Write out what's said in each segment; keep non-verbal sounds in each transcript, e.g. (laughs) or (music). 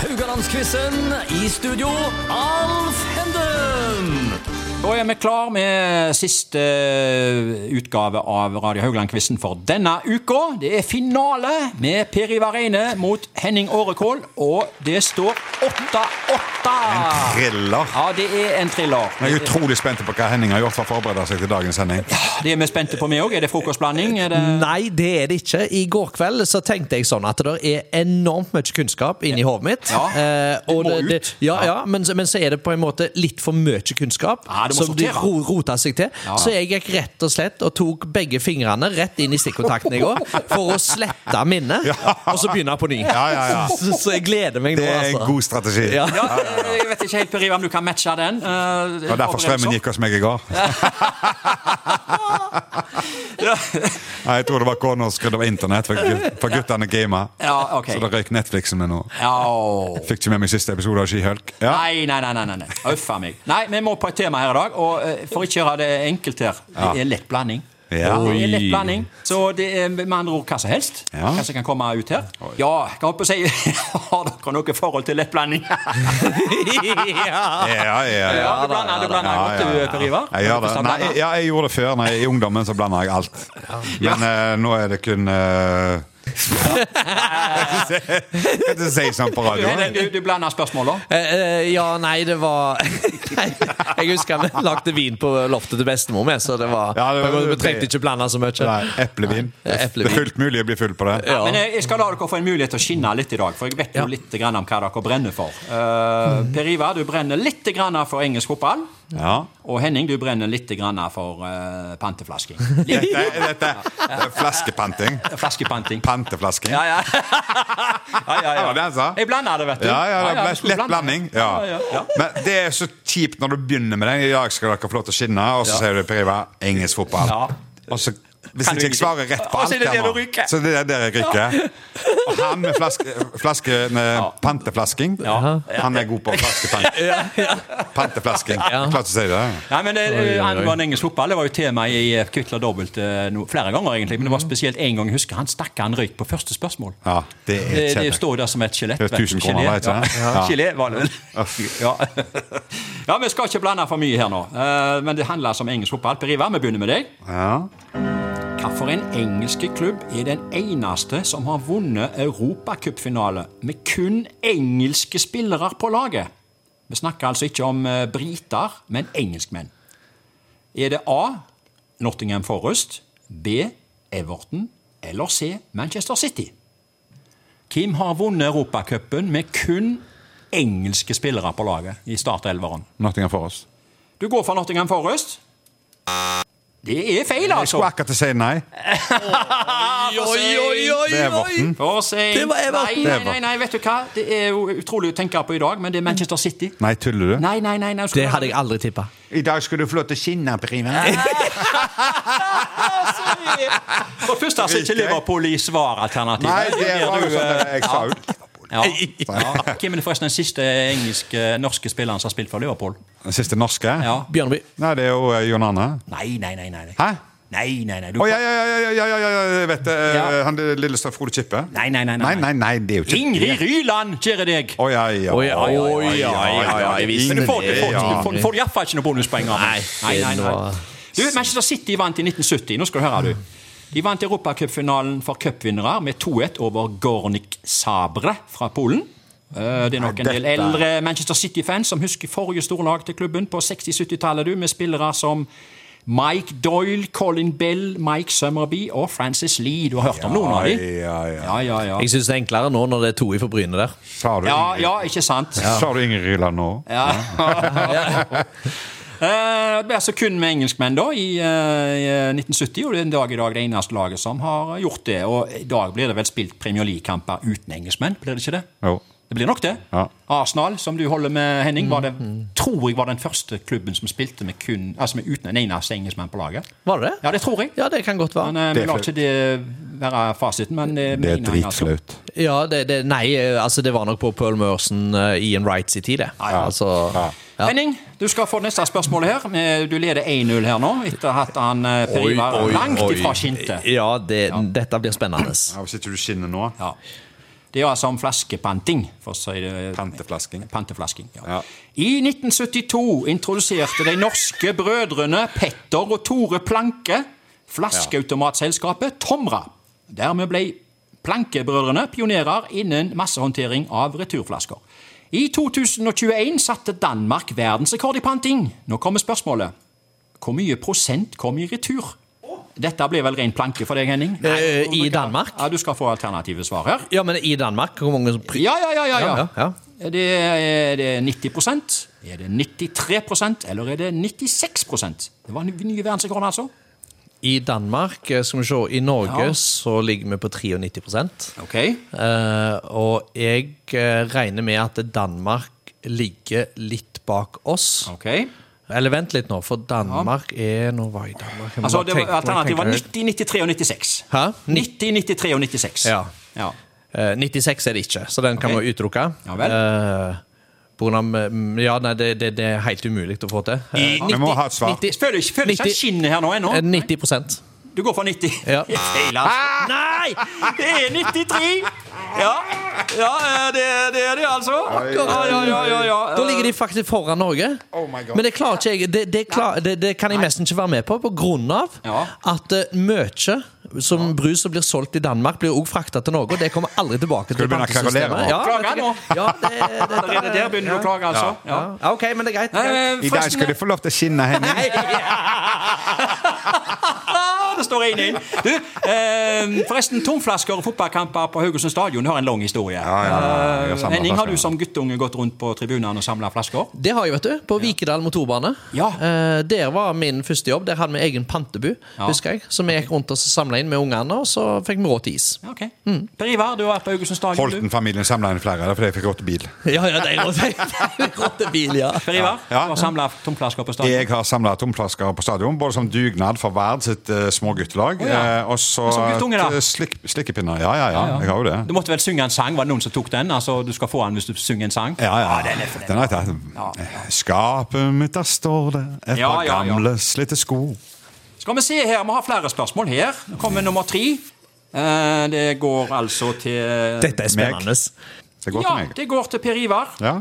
Haugalandsquizen i studio, Alf Henden! Da er vi klar med siste eh, utgave av Radio Haugland-quizen for denne uka. Det er finale med Per Ivar Eine mot Henning Årekål, og det står 8-8. Thriller. Ja, det er en thriller. Jeg er utrolig spent på hva Henning har gjort for å forberede seg til dagens sending. Det er vi spente på, vi òg. Er det frokostblanding? Er det Nei, det er det ikke. I går kveld så tenkte jeg sånn at det er enormt mye kunnskap inni hodet mitt. Eh, Ja, det og må det, det, ut. ja, ja, men, så- men så er det på en måte litt for mye kunnskap Ja, det må som de sortere. ro, rota seg til. Ja. Så jeg gikk rett og slett og tok begge fingrene rett inn i stikkontakten i går for å slette (laughs) minnet, og så begynne på ny. Ja, ja, ja. (laughs) Så, så jeg gleder meg nå, Det er en altså. god strategi. Ja. Ja, jeg vet ikke helt, Per Ivar, om du kan matche den. Eh, sånn. Det Det var derfor strømmen gikk hos meg i går. Nei, jeg tror det var kona som skrudde av internett, for, gut- for guttene gama. Ja, ok. Så da røyk Netflixen min nå. Ja. Fikk ikke med meg siste episode av Skihølk. Ja. Nei, nei, nei. nei, nei, nei. Uff a meg. Nei, vi må på et tema her i dag, og eh, for ikke å gjøre det enkelt her, Ja. det er lett blanding. Ja. Det er lett Oi. blanding, så det er med andre ord hva som helst. Ja. Hva som kan komme ut her. Ja, jeg holdt på å si (laughs) Har dere noe forhold til (laughs) lettblanding? ja. Ja, ja, ja. Ja, du blander, du blander Ja, godt, du, ja, Per ja. Ivar. Jeg, gjør det. Hvordan Nei, blander? ja, jeg gjorde det før. Når jeg, I ungdommen så blanda jeg alt. Men eh, nå er det kun eh, (laughs) Jeg kan ikke si sånn på Du, radioen. du, du blander spørsmåla? Eh, eh, ja, nei, det var (laughs) Nei, Jeg husker vi lagde vin på loftet til bestemor med, så det var, Ja, det var- Vi trengte ikke blande så mye. Nei, eplevin. Nei, eplevin. Det er fullt mulig å bli full på det. Ja. Men jeg jeg skal la dere få en mulighet til å skinne litt i dag, for jeg vet jo Ja. litt grann om hva dere brenner for. Eh, per Ivar, du brenner litt grann for engelsk fotball. Ja. Og Henning, du brenner litt grann for eh, panteflasking. Litt Dette, dette det er flaskepanting. flaskepanting. Panteflasking. Ja, (laughs) ja. ja, ja, Det ja. var det han sa. Jeg blander det, vet du. Ja, ja, det du ble skulle lett blande. blanding. Ja. Ja, ja. Men det er så kjipt når du begynner med den. I dag skal dere få lov til å skinne, og så Ja. sier du Per Ivar engelsk fotball. Ja. Og så hvis Kan du ikke jeg ikke- svarer rett på Og alt så er det her der nå, du ryker. så det er der jeg ryker. Og han med flaske, flaske med panteflasking, Ja. han er god på flaskepant. Panteflasking. Ja. Klart å si det. Nei, men det, oi, oi. Angående engelsk fotball, det var jo tema i eh, Kvikla dobbelt eh, no, flere ganger, egentlig. Men det var Mm. spesielt én gang jeg husker han stakk han røyk på første spørsmål. Ja, det er Det, det kjempe. står jo der som et skjelett. Det vet er du. 1000 kroner, Gelé, vet du, ja. (laughs) ja. Gelé var det vel. (laughs) Ja. ja, vi skal ikke blande for mye her nå. Eh, Men det handler altså om engelsk fotball. Per Ivar, vi begynner med deg. Ja. Hvilken engelske klubb er den eneste som har vunnet europacupfinale med kun engelske spillere på laget? Vi snakker altså ikke om eh, briter, men engelskmenn. Er det A. Nottingham Forest, B. Everton eller C. Manchester City? Hvem har vunnet europacupen med kun engelske spillere på laget i startelveren? Nottingham for oss. Du går for Nottingham Forest. Det er feil, Jeg skulle altså. akkurat til å si nei. Ah, Oi, oi, Det er oi, oi! Vorten. For sent. Det var Everton. Nei, nei, nei, nei, vet du hva? Det er jo utrolig å tenke på i dag, men det er Manchester City. Nei, tuller du? Nei, nei, nei. nei Det hadde jeg aldri tippa. I dag skulle du få lov til å skinne, Per Ivar. For det første så er ikke Liverpool i svaralternativet. Nei, det blir var jo du, sånn eh, det jeg sa ut. Ja. Ja. Hvem er det forresten den siste engelske, norske spilleren som har spilt for Liverpool? Den siste norske? Ja. Bjørneby. Nei, det er jo eh, John Arne. Nei, nei, nei. nei. Hæ? Nei, nei, nei. Du, Å, ja, ja, ja, ja, ja, ja, ja, ja, jeg vet det. Eh, Ja. Han er Lillestrøm Frode Kippe? Nei, nei, nei, nei. Nei, nei, nei, det er jo ikke Ingrid Ryland, kjære deg! Å, ja, ja. Oi, oi, oi, oi, oi, jeg visste Men du får, du det, får, ja. du får, du får iallfall ikke noen bonuspoeng av Nei, meg. Nei, nei, det nei. var- Du, Manchester City vant i 1970. Nå skal du høre, du. De vant europacupfinalen for cupvinnere med 2-1 over Gornik Sabre fra Polen. Eh, Det er nok en Nei, del dette- eldre Manchester City-fans som husker forrige storlag til klubben på 60-70-tallet, du, med spillere som Mike Doyle, Colin Bell, Mike Summerby og Francis Lee. Du har hørt om noen av dem? Ja, ja, ja. Ja, ja, ja. Jeg syns det er enklere nå når det er to i for Bryne der. Sa du, Ja, Ingrid- ja, ikke sant? Sa du Ingrid Ryland nå? Eh, Det ble altså kun med engelskmenn da, i, eh, i 1970, og det er en dag i dag det eneste laget som har gjort det. Og i dag blir det vel spilt Premier League-kamper uten engelskmenn, blir det ikke det? Jo. Det blir nok det. Ja. Arsenal, som du holder med, Henning, var det, tror jeg var den første klubben som spilte med kun, altså med uten en eneste engelskmann på laget. Var det Ja, det? det tror jeg. Ja, det kan godt være. Men eh, vi er lar flaut. ikke det være fasiten, men eh, Det er mener jeg altså. dritflaut. Ja, det, det, nei, eh, altså det var nok på Pearl Merson eh, Ian Wrights i tid, det. Altså, ja. Henning, du skal få neste spørsmål her. Eh, Du leder 1-0 her nå, etter å ha hatt han eh, Per Oi, Ivar oi, langt oi. ifra skinte. Ja, det, dette blir spennende. Ja, Hvis ikke du skinner nå Ja. Det er altså om flaskepanting. for å si det- Panteflasking. Panteflasking, ja. Ja. I 1972 introduserte de norske brødrene Petter og Tore Planke flaskeautomatselskapet Tomra. Dermed ble Planke-brødrene pionerer innen massehåndtering av returflasker. I 2021 satte Danmark verdensrekord i panting. Nå kommer spørsmålet. Hvor mye prosent kom i retur? Dette blir vel ren planke for deg, Henning? Eh, I Danmark? Ja, Du skal få alternative svar her. Ja, men i Danmark? Hvor mange som pri... Ja, ja, ja. ja, ja. Ja, ja, Det er, er det 90 Er det 93 eller er det 96 Det var nye verdensrekord, altså. I Danmark, eh, skal vi se I Norge Ja. så ligger vi på 93 Ok. Eh, og jeg eh, regner med at Danmark ligger litt bak oss. ok. Eller vent litt nå, for Danmark er Nå var jeg i Danmark. Jeg må Altså, bare det var, tenke- Alternativet var tenke- 90, 93 og 96. Hæ? 90, 93 og 96. Ja. ja. Eh, 96 er det ikke, så den kan Ok. vi utelukke. Ja vel. Eh, på grunn av, mm, ja, nei, det, det, det er helt umulig å få til. Eh, I Vi må ha et svar. 90 Føler ikke, føler ikke 90 skinnet her nå ennå. eh, 90 Du går for 90. (laughs) Ja. Det er Feil, altså. Nei! Det er 93! Ja, ja eh, det, det er det, altså. Ja, ja, ja, ja, ja. Da ligger de faktisk foran Norge. Men det klarer ikke jeg. Det, det, klar, det, det kan jeg nesten ikke være med på, på grunn av Ja. at eh, mye som brus som blir solgt i Danmark, blir også frakta til Norge, og det kommer aldri tilbake Skal til du begynne å kverulere nå? Ja, Klager vet du- Ja, det, det, (laughs) Allerede der begynner du å klage, altså. Ja. ja. Ja, OK, men det er greit. Det er greit. Eh, I dag skal forresten- du få lov til å skinne, Henning. Ja, Ah, det står 1-1. Du, eh, forresten, tomflasker og fotballkamper på Haugesund stadion har en lang historie. ja, ja. Jeg samler Henning, har flasker. du som guttunge gått rundt på tribunene og samla flasker? Det har jeg, vet du. På Vikedal motorbane. Ja. Eh, der var min første jobb. Der hadde vi egen pantebu, Ja. husker jeg. Som vi gikk rundt og samla inn med ungene, og så fikk vi råd til is. Ja, Ok. Per Ivar, du har vært på Haugesund stadion. du. Holten-familien samla inn flere, det er fordi jeg fikk råd til bil. Ja, ja, det er (laughs) råd- det er råd til bil, ja. Per Ivar, Ja. du har samla tomflasker på stadion. Jeg har samla tomflasker på stadion, både som dugnad for Vard sitt eh, små guttelag, Å, ja. eh, og så Og som guttunge, da? til slik, slikkepinner. Ja, ja, ja, jeg har jo Du det. måtte vel synge en sang? Var det noen som tok den? Altså, Du skal få den hvis du synger en sang? Ja, ja. den er for den. Den har jeg tatt. Skapet mitt, der står det et Ja, par ja, ja. gamle, slitte sko. Skal vi se her, vi har flere spørsmål her. Nå kommer nummer tre. Eh, Det går altså til Dette er spennende. Så det går Ja, til meg. det går til Per Ivar. Ja.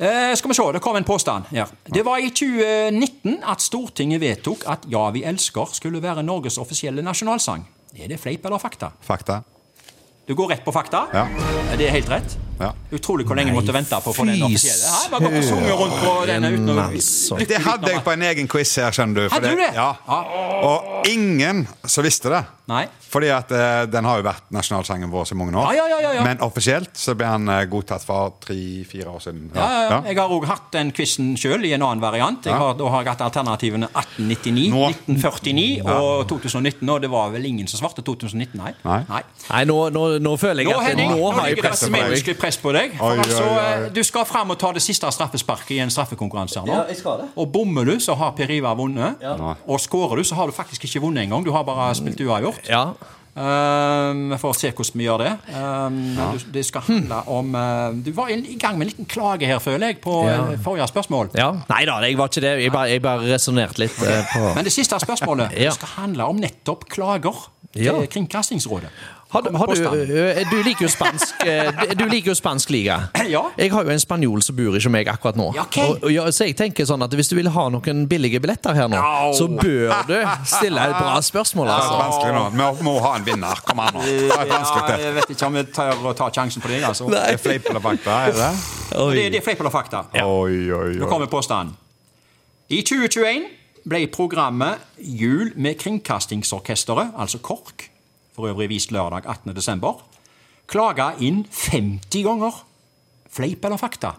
Eh, skal vi se, det kom en påstand her. Det var i 2019 at Stortinget vedtok at Ja, vi elsker skulle være Norges offisielle nasjonalsang. Er det fleip eller fakta? Fakta. Du går rett på fakta. Ja. Det er helt rett. Ja. Utrolig hvor lenge jeg måtte vente på å få den fy offisielle. Ja, jeg bare gått og sunget rundt på denne uten å... altså. Det hadde jeg på en egen quiz her, skjønner du. for Hadde du det? Ja. Ja. Og ingen som visste det. Nei. Fordi at eh, den har jo vært nasjonalsangen vår så mange år. Ja, ja, ja, ja, ja. Men offisielt så ble han eh, godtatt for tre-fire år siden. Ja, ja, ja. Ja. Jeg har òg hatt den quizen sjøl, i en annen variant. Jeg har, da har jeg hatt alternativene 1899, Nå. 1949 og 2019. Og det var vel ingen som svarte 2019, nei. Nei. Nei, nå, nå, nå føler jeg Nå, at Henning, nå nå, har jeg ligger det presset et på deg. menneskelig press på deg. For Oi, oi, altså, oi. eh, Du skal fram og ta det siste straffesparket i en straffekonkurranse. her nå. Ja, jeg skal det. Og bommer du, så har Per Ivar vunnet. Og skårer du, så har du faktisk ikke vunnet engang. Du har bare spilt uavgjort. Ja. Um, vi får se hvordan vi gjør det. Um, du, det skal handle om eh, Du var i, i gang med en liten klage her, føler jeg, på Ja. eh, forrige spørsmål. ja. Nei da, jeg var ikke det. Jeg bare, jeg bare resonnerte litt. eh, på. Men det siste (laughs) spørsmålet Ja. det skal handle om nettopp klager til Ja. Kringkastingsrådet. Har, du- har du, Påstand. eh, du liker jo spansk eh, Du liker jo spansk liga. Ja. Jeg har jo en spanjol som bor ikke meg akkurat nå. Ja, ok. og, og, ja, så jeg tenker sånn at Hvis du vil ha noen billige billetter her nå, Au. så bør du stille et bra spørsmål. Det er Altså. vanskelig nå. Vi må ha en vinner. Kom an, nå. Det er Ja, vanskelig. jeg vet ikke om jeg tør å ta sjansen på deg, altså. Det er fleip eller fakta, er det? Det, det er fleip eller fakta. Oi, oi, Nå oi. kommer påstanden. I 2021 ble programmet Jul med Kringkastingsorkesteret, altså KORK, for øvrig vist lørdag 18.12., klaga inn 50 ganger. Fleip eller fakta?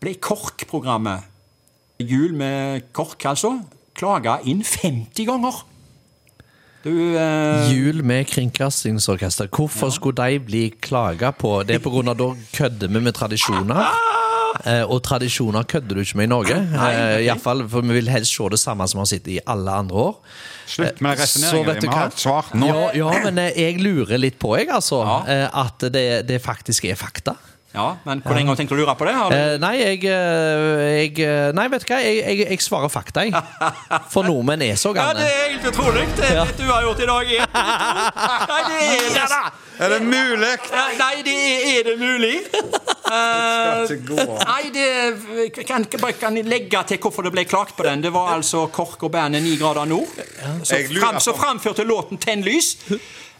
Ble KORK-programmet, Jul med KORK altså, klaga inn 50 ganger? Du eh, Jul med Kringkastingsorkester. Hvorfor skulle de bli klaga på? Det er på grunn av da kødder vi med tradisjoner. Eh, Og tradisjoner kødder du ikke med i Norge. Eh, i hvert fall, for Vi vil helst se det samme som vi har sett i alle andre år. Slutt med Eh, Så resonneringen. vet Vi du må ha hva? et svar nå. Ja, ja, men eh, jeg lurer litt på, jeg, altså. Ja. eh, At det, det faktisk er fakta. Ja, men Hvor lenge har du tenkt å lure på det? Har du? Eh, nei, jeg, eh, jeg eh, Nei, vet du hva? Jeg, jeg, jeg svarer fakta, jeg. For nordmenn er så Ja, gale. Det er helt utrolig. Det Ja. det du har gjort i dag, er Nei, det er det, da! Er det mulig? Nei, det er, er det mulig? Eh, Skal ikke gå. Nei, det kan, bare kan jeg legge til hvorfor det ble klagt på den. Det var altså Kork og bandet 9 grader nord. Så, Jeg lurer fram, på- så framførte låten 'Tenn lys'.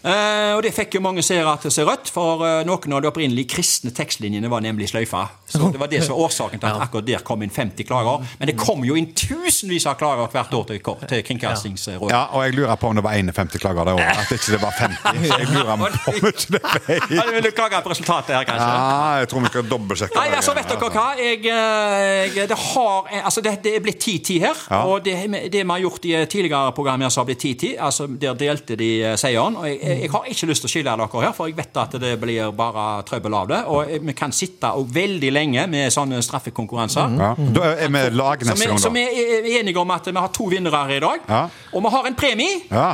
Eh, og det fikk jo mange seere til å se rødt, for eh, noen av de opprinnelige kristne tekstlinjene var nemlig sløyfa. Så det var det som var årsaken til at akkurat der kom inn 50 klager. Men det kom jo inn tusenvis av klager hvert år til, Kork- til Kringkastingsrådet. Ja, og jeg lurer på om det var 51 klager det året. At ikke det var 50. Så jeg lurer på om ikke det Ja, ble du vil klage på resultatet her, kanskje? Ja, Ah, jeg tror vi skal dobbeltsjekke. Nei, altså, vet dere hva? Jeg, eh, jeg, det, har, eh, altså, det, det er blitt 10-10 her. Ja. Og det, det vi har gjort i eh, tidligere program her, så har blitt 10-10. Altså, der delte de eh, seieren. Og jeg, jeg, jeg har ikke lyst til å skille dere her, for jeg vet at det blir bare trøbbel av det. Og eh, vi kan sitte og veldig lenge med sånne straffekonkurranser. Mhm. Ja. Da er vi lag Så vi, neste gang, så vi da. er er enige om at vi har to vinnere her i dag. Ja. Og vi har en premie. Ja.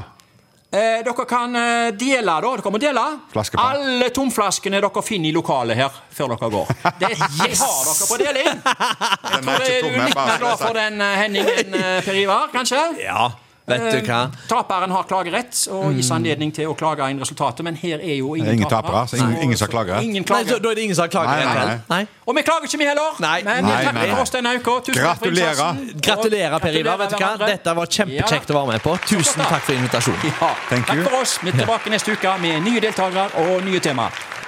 Eh, dere kan eh, dele, da. Dere må dele Flaskepann. alle tomflaskene dere finner i lokalet her før dere går. (laughs) Det er yes! har dere på deling! Den Er er ikke du tom, jeg litt mer glad for bare den, eh, Henning, enn eh, Per Ivar, kanskje? Ja, vet du hva? Mm. Eh, Taperen har klagerett og gis anledning til å klage inn resultatet, men her er jo ingen, Ingen tapere, så ingen- ingen som klager. Ingen Nei, Eh, klager. så, da er det ingen som har klaget? Nei, nei, heller? nei. Og vi klager ikke, vi heller. Nei. Men eh, Nei, takk nei, nei. for oss denne uka. Tusen takk for Gratulerer. innsatsen. Gratulerer, Per Ivar. Gratulerer Vet du hva? hverandre. Dette var Ja. kjempekjekt å være med på. Tusen takk for invitasjonen. Ja, Thank takk you. for oss. Vi er tilbake neste uke med nye deltakere og nye tema.